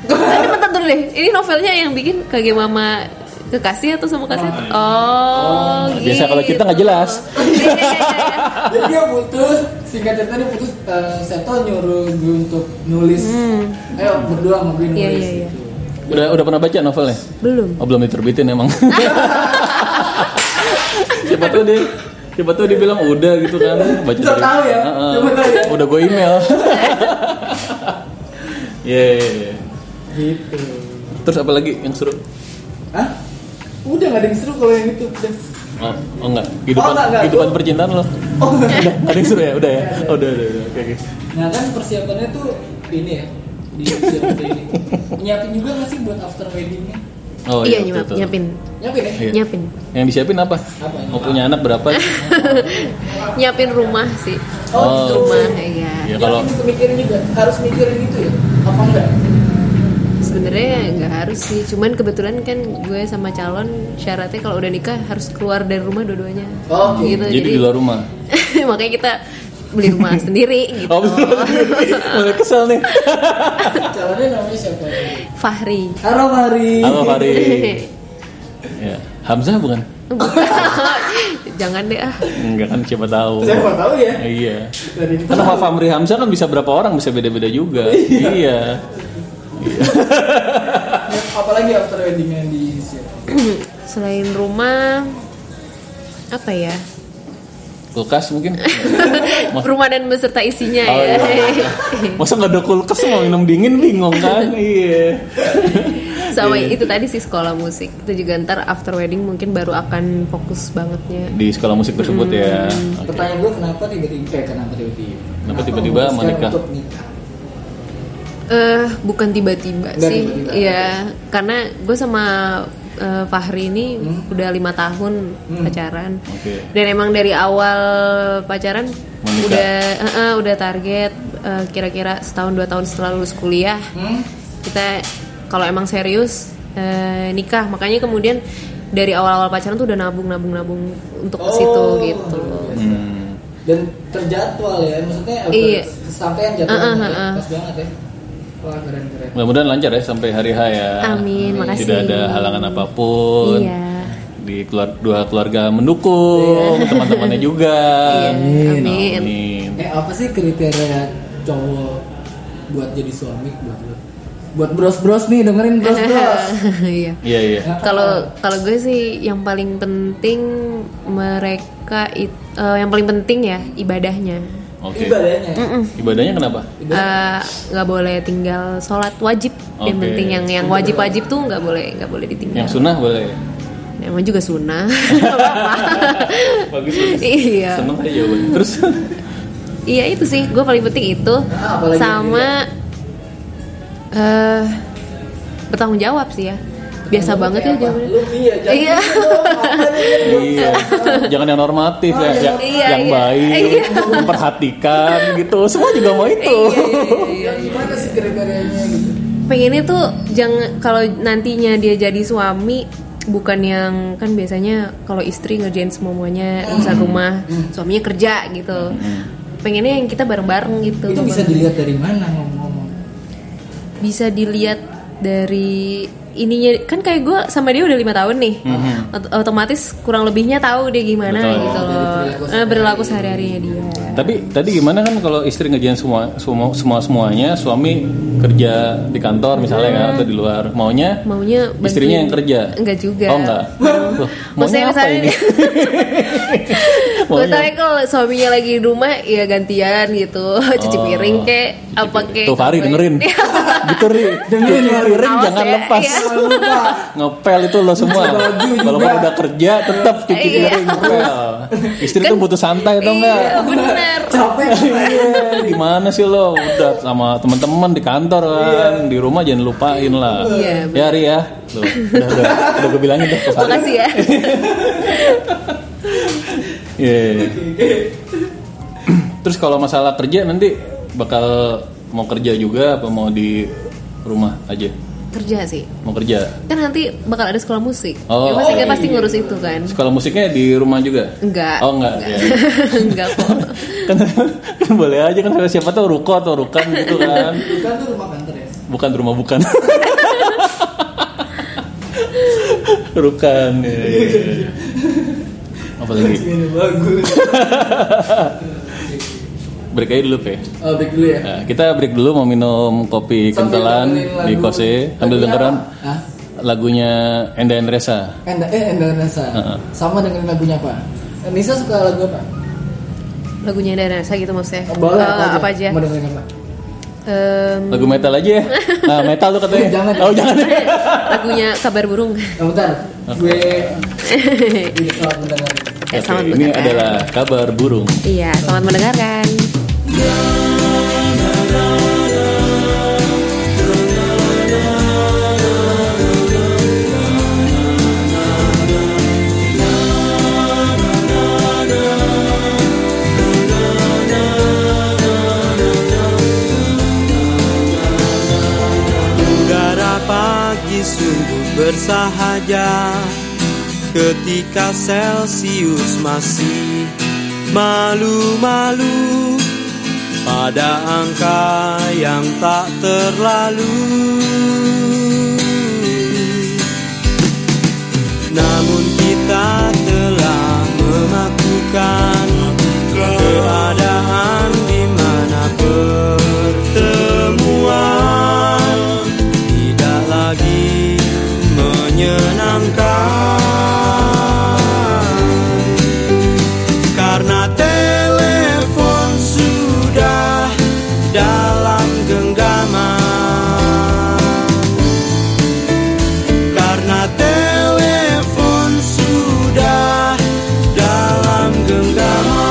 Tapi bentar dulu deh ini novelnya yang bikin kage mama kekasih atau sama kasih oh, gitu. Biasa kalau kita nggak jelas. Iya, iya, iya, iya. jadi dia putus singkat cerita dia putus eh, Seto nyuruh gue untuk nulis ayo berdua mau gue Hmm. nulis Iya, iya, iya. gitu. Udah udah pernah baca novelnya? belum Oh belum diterbitin emang. siapa tuh dia? Siapa tuh dia bilang udah gitu kan? Baca Siapa tahu ya? Heeh. Siapa tahu ya? Udah gue email. Iya. iya, iya. gitu Terus apa lagi yang seru? Hah? udah gak ada yang seru kalau yang itu udah Oh, oh enggak, kehidupan, Oh, enggak, enggak. kehidupan percintaan lo. oh iya. Udah, ada yang seru ya? Udah ya? Oh, udah, udah, udah. Oke, oke. nah kan persiapannya tuh ini ya di persiapan ini nyiapin juga nggak sih buat after weddingnya Oh, iya betul, nyuap- betul. nyiapin nyiapin ya Iya. nyiapin Yang disiapin apa? Apa? Mau punya anak berapa? nyiapin rumah sih oh, Oh. gitu rumah iya Ya, kalau- Nyiapin juga, mikirin juga harus mikirin gitu ya apa enggak sebenarnya nggak harus sih cuman kebetulan kan gue sama calon syaratnya kalau udah nikah harus keluar dari rumah dua-duanya Oh, oke. gitu Jadi, di luar rumah. makanya kita beli rumah sendiri gitu Oh, betul. Mulai kesel nih. calonnya namanya siapa Fahri Halo Mari Halo, Fari. Ya. Hamzah bukan? jangan deh ah Enggak kan siapa tahu. siapa tahu ya Iya. dari kita Karena Pak Famri Hamzah kan bisa berapa orang bisa beda-beda juga. iya. apalagi after wedding yang di siapa selain rumah apa ya Kulkas mungkin. Mas- rumah dan beserta isinya Oh, ya iya. Masa nggak ada kulkas mau minum dingin bingung kan? Iya. sama Iya. itu tadi sih sekolah musik itu juga ntar after wedding mungkin baru akan fokus bangetnya Di sekolah musik tersebut ya. Hmm. Oke. pertanyaan gue kenapa tiba-tiba eh, kenapa tiba-tiba Kenapa tiba-tiba memutuskan menikah? untuk nikah Eh, bukan tiba-tiba Nggak sih. tiba-tiba. Iya, karena gue sama eh, Fahri ini udah lima tahun pacaran. Hmm? Oke. Dan emang dari awal pacaran Menikah. udah eh, eh, udah target eh, kira-kira setahun dua tahun setelah lulus kuliah hmm? kita kalau emang serius eh, nikah. Makanya kemudian dari awal-awal pacaran tuh udah nabung nabung nabung untuk ke situ Oh. gitu Hmm. dan terjadwal ya maksudnya apa, Iya. kesampaian jadwalnya Ah, ah, ya. ah, pas banget ya wah keren keren Mudah-mudahan lancar ya sampai hari H ya. Amin, makasih. Tidak ada halangan apapun. iya Di keluar, dua keluarga mendukung, teman-temannya juga. Iya, amin. Amin. eh apa sih kriteria cowok buat jadi suami buat lo buat bros bros nih dengerin bros bros iya Iya iya. kalau kalau gue sih yang paling penting mereka it- eh, yang paling penting ya ibadahnya Oke. ibadahnya ya? Ibadahnya kenapa? Eh, nggak boleh tinggal sholat wajib yang Oke. penting yang yang wajib wajib tuh nggak boleh nggak boleh ditinggal Yang sunnah boleh. Emang juga sunnah. Nggak apa-apa. Bagus. bagus. iya. Seneng aja jawabannya. Terus Iya itu sih, gue paling penting itu Ah, apalagi sama eh bertanggung jawab sih ya. Biasa banget ya Kayak apa? jawabannya. Lu iya jangan Iya. gitu dong, apa nih? iya. Jangan yang normatif ya, Iya, ya- yang iya. baik, Iya. memperhatikan gitu. Semua juga mau itu. Iya. Yang gimana sih kriterianya gitu Pengennya tuh jangan kalau nantinya dia jadi suami bukan yang kan biasanya kalau istri ngerjain semuanya urusan rumah, Hmm. suaminya kerja gitu. Pengennya yang kita bareng-bareng gitu. itu bisa dilihat dari mana ngomong-ngomong bisa dilihat dari ininya kan kayak gue sama dia udah lima tahun nih Ot- otomatis kurang lebihnya tahu dia gimana Mm-hmm. Betul. gitu loh Eh, berlaku sehari harinya dia Tapi tadi gimana kan kalau istri ngerjain semua semua semua semuanya, suami kerja di kantor misalnya kan atau di luar. Maunya maunya istrinya bantuin- yang kerja. enggak juga Oh enggak. Loh, maunya Maksudnya apa misalnya ini? dia- Maunya Maksudnya kalau suaminya lagi di rumah ya gantian gitu cuci Oh, piring kek cuci apa piring. kek Iya. Tuh Fahri dengerin. gitu Ri. Dengerin, Cuci Fahri. piring Awas jangan ya, lepas. iya. lupa Ngepel itu lo semua. Cuci baju juga. Kalau udah kerja tetap cuci Iya. Kan piring ngepel. Istri tuh butuh santai atau enggak? iya bener capek ya. Iya, gimana sih lo udah sama teman-teman di kantor kan di rumah jangan lupain lah Iya, ya Ri ya Tuh, udah udah udah gue bilangin deh ke Fahri. makasih ya Iya, iya, iya. terus kalau masalah kerja nanti bakal mau kerja juga apa mau di rumah aja kerja sih mau kerja kan nanti bakal ada sekolah musik Oh, ya pasti oh, pasti ngurus itu kan sekolah musiknya di rumah juga Enggak. oh enggak, ya. enggak kok kan, kan boleh aja kan siapa tahu ruko atau rukan gitu kan bukan tuh rumah kantor ya bukan rumah bukan rukan ya, ya, ya. apa lagi ini bagus break aja dulu pe oh back dulu ya Nah, kita break dulu mau minum kopi Sambil kentelan dengerin lagu. di kose sambil Lagunya dengeran apa? Hah? lagunya Enda Endresa Enda, eh Enda Nasa Heeh. sama dengerin lagunya apa Nisa suka lagu apa lagunya ada rasa gitu maksudnya Oh, boleh Eh, apa, apa aja mau dengerin apa Em, lagu metal aja ya nah, metal tuh katanya Jangan. oh jangan lagunya kabar burung nah, bentar gue ini soal mendengar Eh, Oke, selamat ini mendengarkan. adalah kabar burung iya selamat mendengarkan Udara pagi sungguh bersahaja Ketika Celcius masih malu-malu Pada angka yang tak terlalu Namun kita telah memakukan Keadaan di mana pertemuan tidak lagi menyenangkan karena telepon sudah dalam genggaman karena telepon sudah dalam genggaman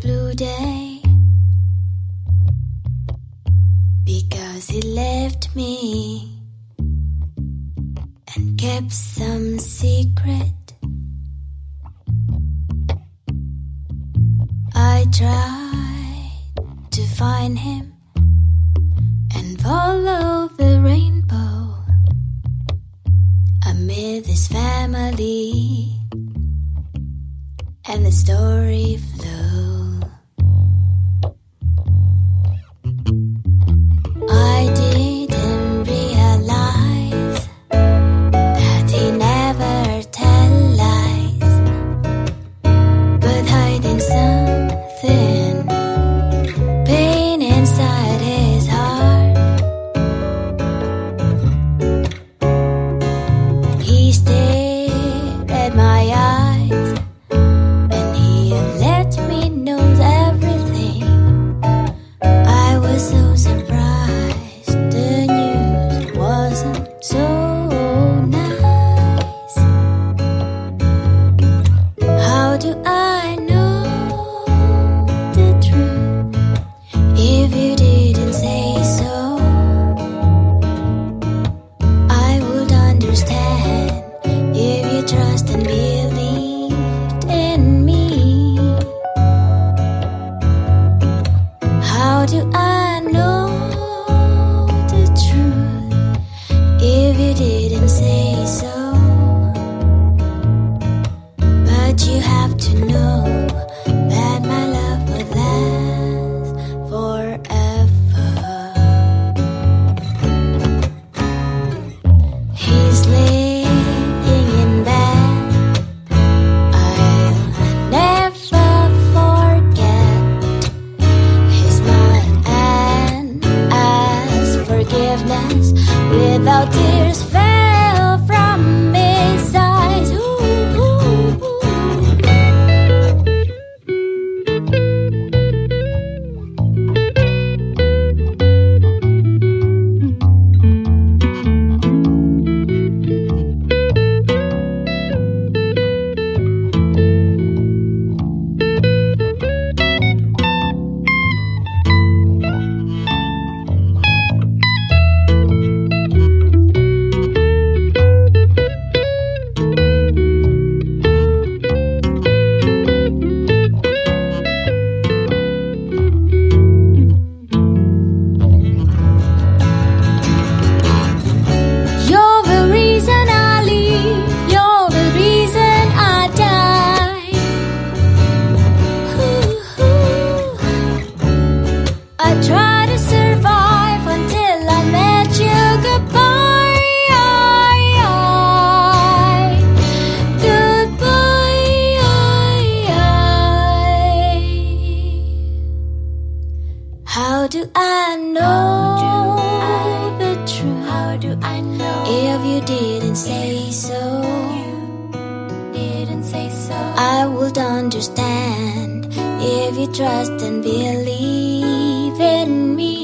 today because he left me and kept some secret. I tried to find him and follow the rainbow amid his family and the story flew. I didn't realize that he never tell lies, but hiding something, pain inside his heart. He stared at my eyes. And he let me know everything. I was so surprised. The news wasn't so nice. How do I know the truth if you didn't say so? I would understand if you trust and believed in me. How do I know the truth if you didn't say so? But you have to know that my love will last forever. He's laying in bed. I'll never forget his smile and as forgiveness without tears fell from his eyes. Ooh, ooh, ooh. You're the reason I live. You're the reason I die. Ooh, I try to survive until I met you. Goodbye. Goodbye. How do I know the truth? How do I know if you didn't say so? didn't say so. I would understand if you trust and believe in me. uh, oh,